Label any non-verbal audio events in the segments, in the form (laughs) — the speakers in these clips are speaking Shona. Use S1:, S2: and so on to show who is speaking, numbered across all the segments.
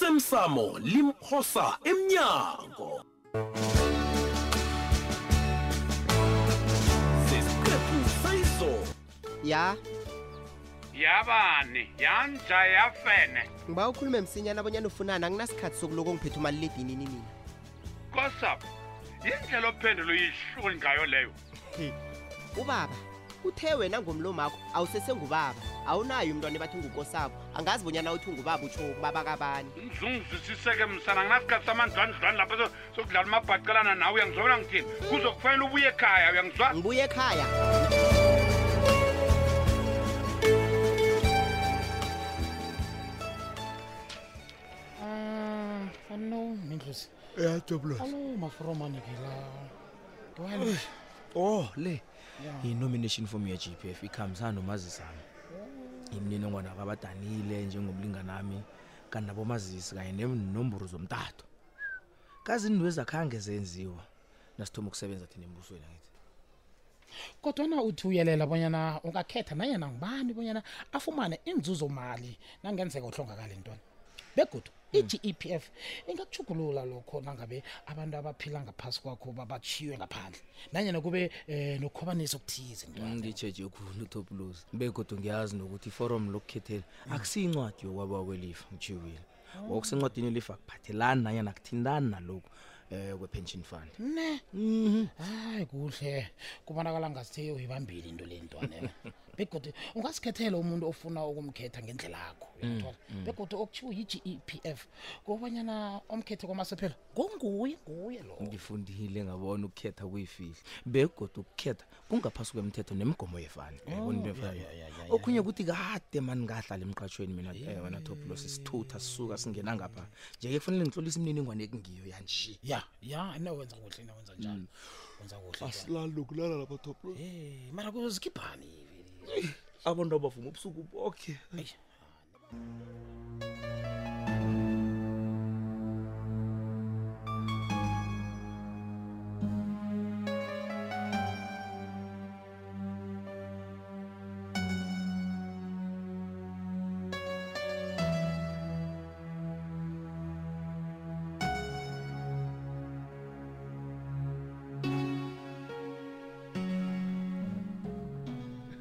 S1: osemsamo limphosa emnyango sesiqephu sayizolo
S2: ya
S3: yabani yanja yafene
S2: ngiba ukhulume msinyana abonyana ufunani anginasikhathi sokuloko ngiphethe umaliledinini mina
S3: kosapho yindlela ophendulo yihluni ngayo leyo
S2: He, ubaba uthe wena ngomlomakho awusesengubaba awunayo umntwana ebathi ngukosabo angazi bonyana uthi ungubaba utsho ubaba kabani
S3: ndizungizwisiseke msana nginasikhathi samandlwandlwani lapho so- sokudlala umabhacelana nawe uyangizobona ngithini kuzokufanele ubuye ekhaya uyangizwa
S2: ngibuye ekhaya
S4: Ah, no mindlosi
S5: yajobulos
S4: alo maforomane-ke la Well,
S5: oh le
S4: yeah.
S5: yi-nomination form ye-g p f ikhambisana nomazisi ami Oh. imininingwana kabadanile njengomlinganami kanti nabomazisi kanye nenomboro zomtato kazi into ezakhange zenziwa nasithoma ukusebenza thina embusweni angithi
S4: kodwana uthi uyelela bonyana ungakhetha nanyana ngubani bonyana afumane inzuzo mali nangenzeka uhlongakale ntwana begodu E i-gepf ingakuchugulula lokho nangabe abantu abaphila ngaphasi kwakho babatshiywe ngaphandle nanyana kube um nokhobaniso okuthize ntwana
S5: ngitsheje khulu utoplos begodwa ngiyazi nokuthi iforum lokukhethela akusiyincwadi yokwaba kwelifa ngitshiwile ngokusencwadini elifa akuphathelani nanyana akuthintani nalokhu um kwe-pension fund
S4: ne hayi kuhle kubonakala ngasithi uyibambile into le ntwana begodwa ungasikhethela umuntu ofuna ukumkhetha ngendlela yakho uyathola begodwa okuthiwo yi-g e p f kobanyana omkhethe kwamasephela ngonguye nguye lo
S5: ngifundile ngabona ukukhetha kuyifihle begodwa ukukhetha kungaphasi kwemthetho nemigomo yefani yayibona into efana nayo. okhunye ukuthi kade mani ngahlala emqatshweni mina eh, wena toplos sithutha sisuka singena ngapha nje-ke kufanele ngihlolise imininingwane ekungiyo yanje
S4: ya ya na wenza kuhle na wenza njalo wenza kuhle ntwana.
S5: asilali lokulala lapha toplos
S4: Eh, mara kuzikhiphani
S5: abantu abavuma ubusuku boke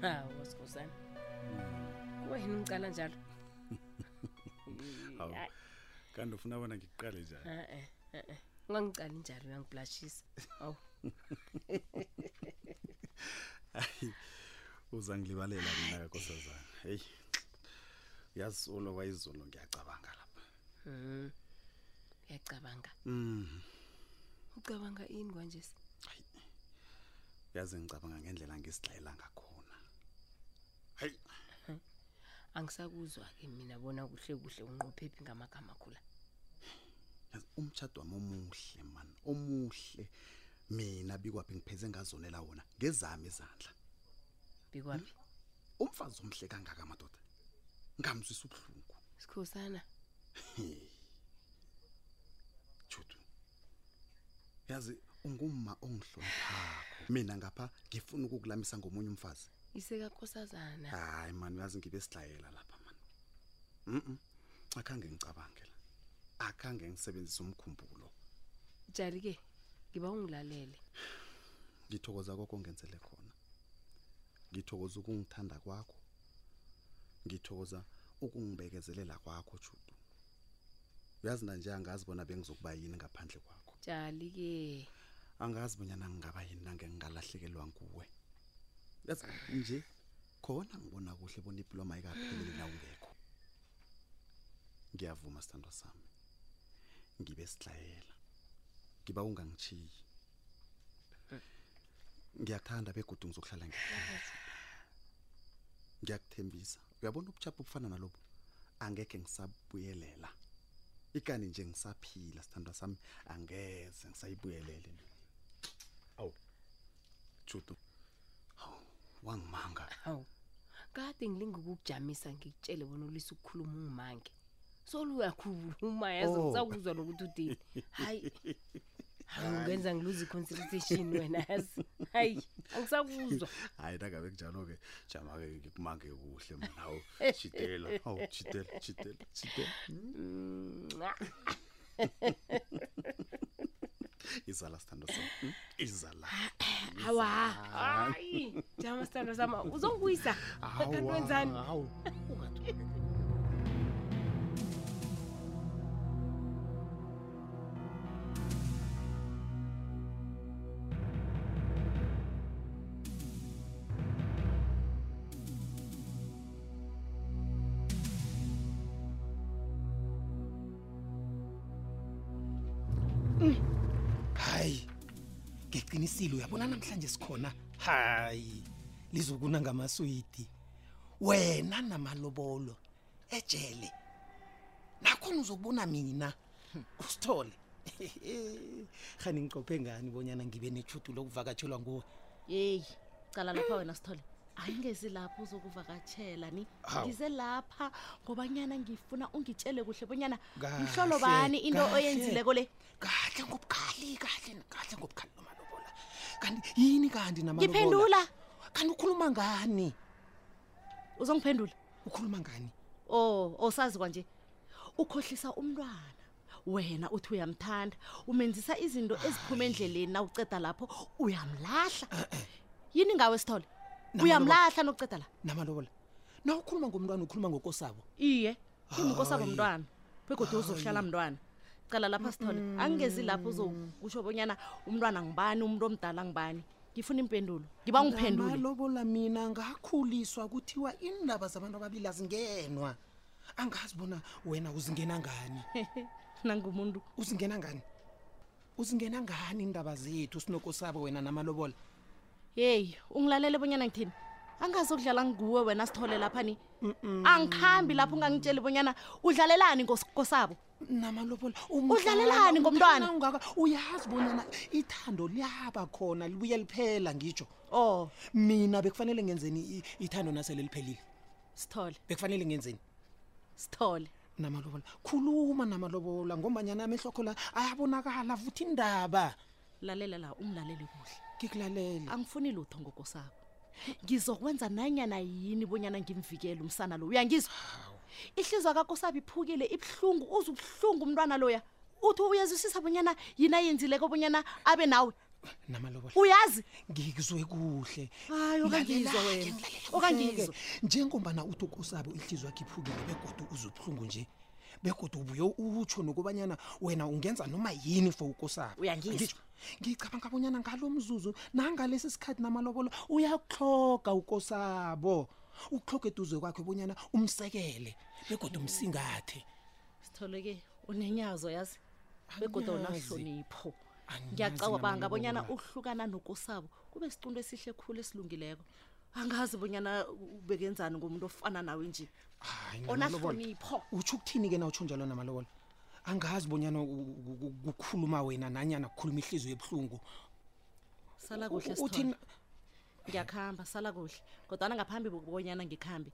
S6: hawa sikhosana wena umcala njalo
S7: Hawu,
S6: Hayi,
S7: kanti ufuna bona ngikuqale njani
S6: a-e, a-e. ungangicali njalo uyangibhlashisa awu
S7: uza ngilibalela mina kakosazana heyi uyazi olo kwayizolo ngiyacabanga lapha
S6: Mhm. uyacabanga
S7: Mhm.
S6: ucabanga ini kwanje
S7: uyazi ngicabanga ngendlela ngisidlayela ngakhona hayi
S6: angisakuzwa-ke mina bona kuhle kuhle unqophephi ngamagama khula
S7: yazi umtshado wami omuhle mani omuhle mina bikwaphi ngipheze ngazonela wona ngezami izandla
S6: bikwaphi
S7: umfazi omhle kangaka amadoda ngamzwisa ubuhlungu
S6: sikhosana
S7: judu yazi ungumma ongihloniphakho mina ngapha ngifuna ukukulamisa ngomunye umfazi
S6: isekakhosazana
S7: hayi mani uyazi ngibe sidlayela lapha mani mm akhange ngicabange la akhange ngisebenzise umkhumbulo
S6: jali-ke ngiba ungilalele
S7: ngithokoza koko ngenzele khona ngithokoza ukungithanda kwakho ngithokoza ukungibekezelela kwakho judu uyazi nanje angazi bona bengizokuba yini ngaphandle kwakho
S6: jali-ke
S7: angazi bonyana ngingaba yini nange ngingalahlekelwa nguwe yazi nje khona ngibona kuhle bona ipilwa mayikapheleli na ungekho ngiyavuma sithandwa sami ngibe sihlayela ngiba ungangitshiyi ngiyakuthanda begudu ngizokuhlala ngikuthanda Judu. ngiyakuthembisa uyabona ubuchapho obufana nalobu angekhe ngisabuyelela ikani nje ngisaphila sithandwa sami angeze ngisayibuyelele into judu hawu wangimanga
S6: hawu kade ngilinga ukukujamisa ngikutshele bona ulise ukukhuluma ungimange soluyakhuluma yazo
S7: Oh.
S6: ngisakuzwa nokuthi udini hayi hayi ungenza ngiluze i-concentration wena yazi hayi angisakuzwa
S7: (laughs) hayi nangabe kunjalo-ke jama-ke (laughs) ngikumange kuhle mnawo jidela hawu jidela jidela jidela
S6: Mm,
S8: zwa
S7: (laughs) izala sithando sam Mm, izala
S8: hawa hayi jama sithando sama uzongibuyisa kanti wenzani
S7: hawu
S2: hayi ngeqinisile uyabona namhlanje sikhona hayi lizokuna ngamaswidi wena namalobolo ejele nakhona uzokubona mina usithole (laughs) khani ngiqophe ngani bonyana ngibe nethudu lokuvakatshelwa nguwe
S6: yeyi cala lapha wena sithole angezi lapho uzokuvakatshela ni ngize lapha ngobanyana ngifuna ungitshele kuhle bonyana
S2: Kahle,
S6: mhlolo bani into
S2: kahle.
S6: oyenzileko le
S2: kahle ngobukhali kahle kahle ngobukhali nomalobola kanti yini kanti namalobola
S6: ngiphendula
S2: kanti ukhuluma ngani
S6: uzongiphendula
S2: ukhuluma ngani
S6: o osazi kwanje ukhohlisa umntwana wena uthi uyamthanda umenzisa izinto eziphuma endleleni na uceda lapho uyamlahla yini ngawe sithole
S2: Namalobola.
S6: uyamlahla nokuceda la
S2: namalobola na ukhuluma ngomntwana ukhuluma ngokosabo
S6: iye kungukosabo
S2: Hayi.
S6: mntwana begodwa uzokuhlala mntwana cala lapha sithole angingezi lapho uzokusho bonyana umntwana ngibani umuntu omdala ngibani ngifuna impendulo ngiba ngiphendule
S2: namalobola mina ngakhuliswa kuthiwa iindaba zabantu ababili azingenwa angazi bona wena uzingena ngani
S6: nangumuntu
S2: uzingena ngani uzingena ngani iindaba zethu sinokosabo wena namalobola
S6: yeyi ungilalele bonyana ngithini angazokudlala nguwe wena sithole lapha ni angikhambi lapho ungangitsheli bonyana udlalelani ngos- kosabo
S2: namalobola
S6: Udlalelani ngomntwana?
S2: ungaka uyazi bonyana ithando liyaba khona libuye liphela ngitsho
S6: oh
S2: mina bekufanele ngenzeni i- ithando nasele liphelile
S6: sithole
S2: bekufanele ngenzeni
S6: sithole
S2: namalobola khuluma namalobola ngombanyana amehlokho la ayabonakala futhi indaba
S6: lalela la ungilalele kuhle
S2: ngikulalele
S6: angifuni lutho ngokosakho ngizokwenza nanyana yini bonyana ngimvikele umsana lo uyangizwa ihlizwa kakho sabe iphukile ibuhlungu uze ubuhlungu umntwana loya uthi uyezwisisa bonyana yini ayenzileko bonyana abe nawe
S2: namalobola
S6: uyazi
S2: ngikuzwe kuhle
S6: hayi okangizwa
S2: Lalela-ke,
S6: wena
S2: ngilalela kuhle-ke.
S6: okangizwa
S2: njengombana uthi kusabo ihliziyo yakhe iphukile begodwa uze ubuhlungu nje begodwa ubuye utsho nokubanyana wena ungenza noma yini for ukosabo
S6: Uyangizwa.
S2: Ngitjho, ngicabanga bonyana ngalo mzuzu nangalesi sikhathi namalobolo uyakuhloga ukosabo ukuhloga eduze kwakhe bonyana umsekele begodwa umsingathe
S6: sithole-ke unenyazo yazi begodwa
S2: Angiyazi.
S6: unahlonipho
S2: Angiyazi
S6: ngiyacabanga
S2: namalobola.
S6: bonyana uhlukana nokosabo kube sicundo esihle khulu esilungileko angazi bonyana ubekenzani ngomuntu ofana nawe nje
S2: Hayi, namalobola.
S6: onahlonipho
S2: utsho ukuthini-ke na utsho njalo namalobola angazi bonyana u- u- u- kukhuluma wena nanyana kukhuluma ihliziyo ebuhlungu
S6: sala kuhle
S2: U- uthini
S6: Sithole. ngiyakuhamba sala kuhle kodwana ngaphambi kokubonyana ngikhambe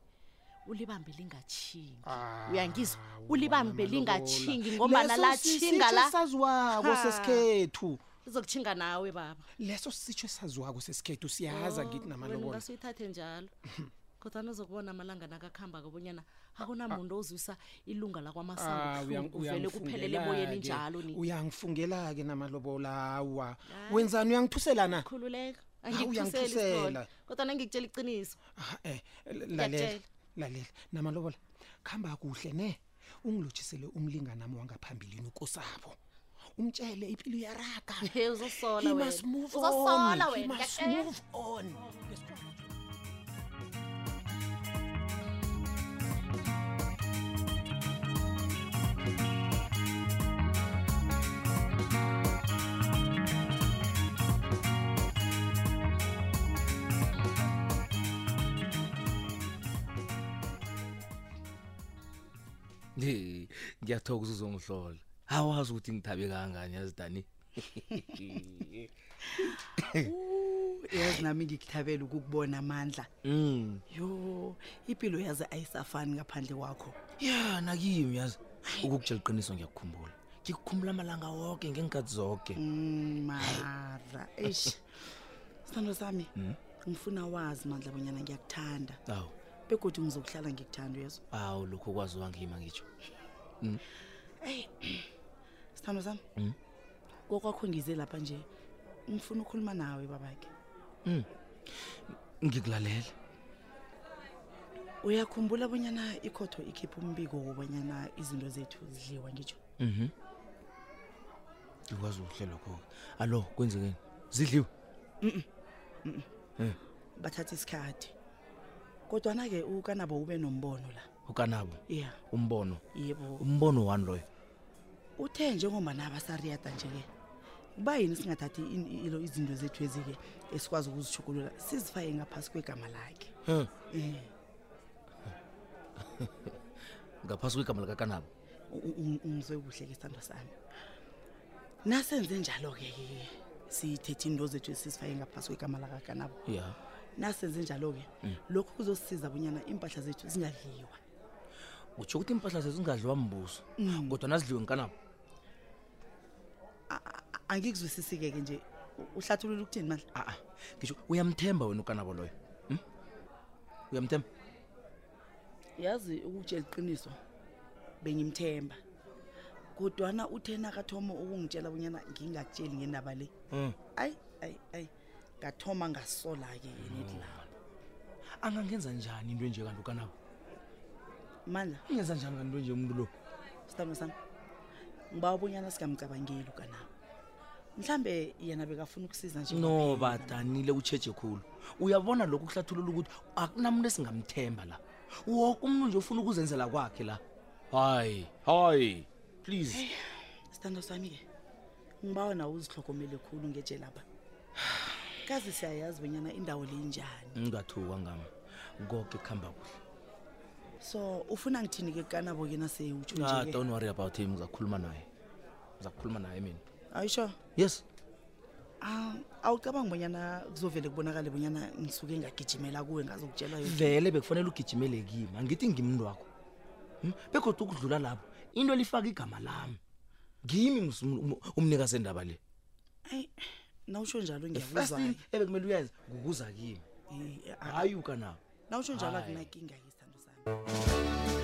S6: ulibambe lingatshingi
S2: Ah,
S6: uyangizwa ulibambe lingatshingi ngombana latshinga la
S2: saziwako
S6: Ha.
S2: sesikhethu
S6: lizokutshinga nawe baba
S2: leso sitsho esaziwako sesikhethu siyaza ngithi namalobola
S6: Oh,
S2: (laughs)
S6: ungasuyithathe njalo kodwana uzokubona amalanga nakakuhamba kobonyana akunamuntu ozwisa ilunga
S2: Ah, uyang-
S6: lakwamasanguvele kuphelele
S2: uyangifungela-ke.
S6: emoyeni njalo Ah. ni
S2: uyangifungela-ke namalobola awa
S6: Hayi.
S2: wenzani uyangithusela na
S6: khululeka
S2: Hawu,
S6: angikuthuseli
S2: uyangikhusela.
S6: Sithole. kodwana ngikutshela iqiniso
S2: Ah, eh lalela
S6: Ngiyakutjela.
S2: lalela namalobola khamba kuhle ne ungilotshisele umlinganami wangaphambilini ukosabo umtshele impilo yaraga
S6: (laughs) he uzosola
S2: He
S6: wena
S2: must move
S6: uzosola
S2: on. He
S6: wena
S2: must
S6: ngiyakutjela.
S2: move on.
S5: Hey, ngiyathokoza uzongihlola awazi ukuthi ngithabe kangani yazi dani
S9: yazi nami ngikuthabela ukukubona amandla
S5: mm.
S9: yo impilo yazi ayisafani ngaphandle kwakho
S5: ya nakimi yazi ukukutshela iqiniso ngiyakukhumbula ngikukhumbula amalanga woke ngenkathi zoke
S9: Mm, mara eish sithando sami ngifuna wazi mandla bonyana ngiyakuthanda
S5: awu
S9: begodwa ngizokuhlala ngikuthanda uyezo
S5: awu lokhu kwaziwa ngima ngitsho
S6: eyi sithando sami
S5: Mm.
S6: kokwakho ngize lapha nje ngifuna ukhuluma nawe babakhe
S5: Mm. ngikulalela
S6: uyakhumbula bonyana ikhotho ikhipha umbiko wobanyana izinto zethu zidliwa ngitsho
S5: mhm ikwazi ukuhle lokho-ke alo kwenzekeni zidliwe
S6: Mm-mm. Mm-mm.
S5: Eh.
S6: bathatha isikhathi kodwana-ke ukanabo ube nombono la
S5: ukanabo
S6: ya
S5: umbono
S6: yebo
S5: umbono wani loyo
S6: uthe njengomana abasariyada nje-ke kuba yini singathathi in- ilo izinto zethu ezi-ke esikwazi ukuzishugulula sizifake ngaphasi kwegama lakhe
S5: Hmm.
S6: um
S5: ngaphasi kwegama likakanabo
S6: ungizwe kuhle ke sithando sami nasenze njalo-ke ke siyithethe into zethu sizifake ngaphasi kwegama lakakanabo
S5: ya
S6: nasenze njalo-ke
S5: Mm.
S6: lokhu kuzosisiza bunyana impahla zethu zingadliwa
S5: utsho ukuthi impahla sezingadliwa mbuso
S6: Mm.
S5: kodwa nazidliwe ngikanabo
S6: angikuzwisisi-ke ke nje U- uhlathulula ukuthini mandla
S5: aa ngisho uyamthemba wena ukanabo loyo Hmm? uyamthemba
S6: yazi ukutshela iqiniso bengimthemba kodwana uthe nakathomo ukungitshela bunyana ngingakutsheli ngendaba le
S5: Mm.
S6: ayi ayi ayi ngathoma ngasola-ke nedi lapho
S5: angangenza njani into enje kanti ukanabo
S6: mandla
S5: ungenza njani kanti into enje umuntu lo
S6: sithando sami ngiba ubonyana singamcabangeli ukanawo mhlambe yena bekafuna ukusiza nje
S5: no badanile utsheje khulu uyabona lokhu kuhlathulula ukuthi akunamuntu esingamthemba la woke umuntu nje ufuna ukuzenzela kwakhe la hayi hayi please
S6: sithando sami-ke ngibawa nawe uzihlogomele khulu ngeje lapha kazi siyayazi bonyana indawo leyinjani
S5: ngingathuka ngami koke kuhamba kuhle
S6: so ufuna ngithini-ke kanabo kena sewutsho
S5: ah
S6: nje
S5: don't worry about him ngizakhuluma naye ngizakhuluma naye mina
S6: ayisho
S5: yes
S6: Ah, awucabanga bonyana kuzovele kubonakale bonyana ngisuke ngagijimela kuwe ngazokutshela yonke
S5: vele bekufanele ugijimele kimi angithi ngimntu wakho Hmm? begodwa ukudlula lapho into elifaka igama lami ngimi mus- um- umnikazi endaba le
S6: nawusho njalo
S5: The first thing
S6: ngiyakuzwayo
S5: ebekumele uyenze kukuza kimi hayi ukanabo
S6: nawusho Eh, njalo
S5: Hayi.
S6: akunakinga yisithando sami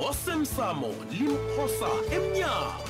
S1: osemsamo limphosa emnyango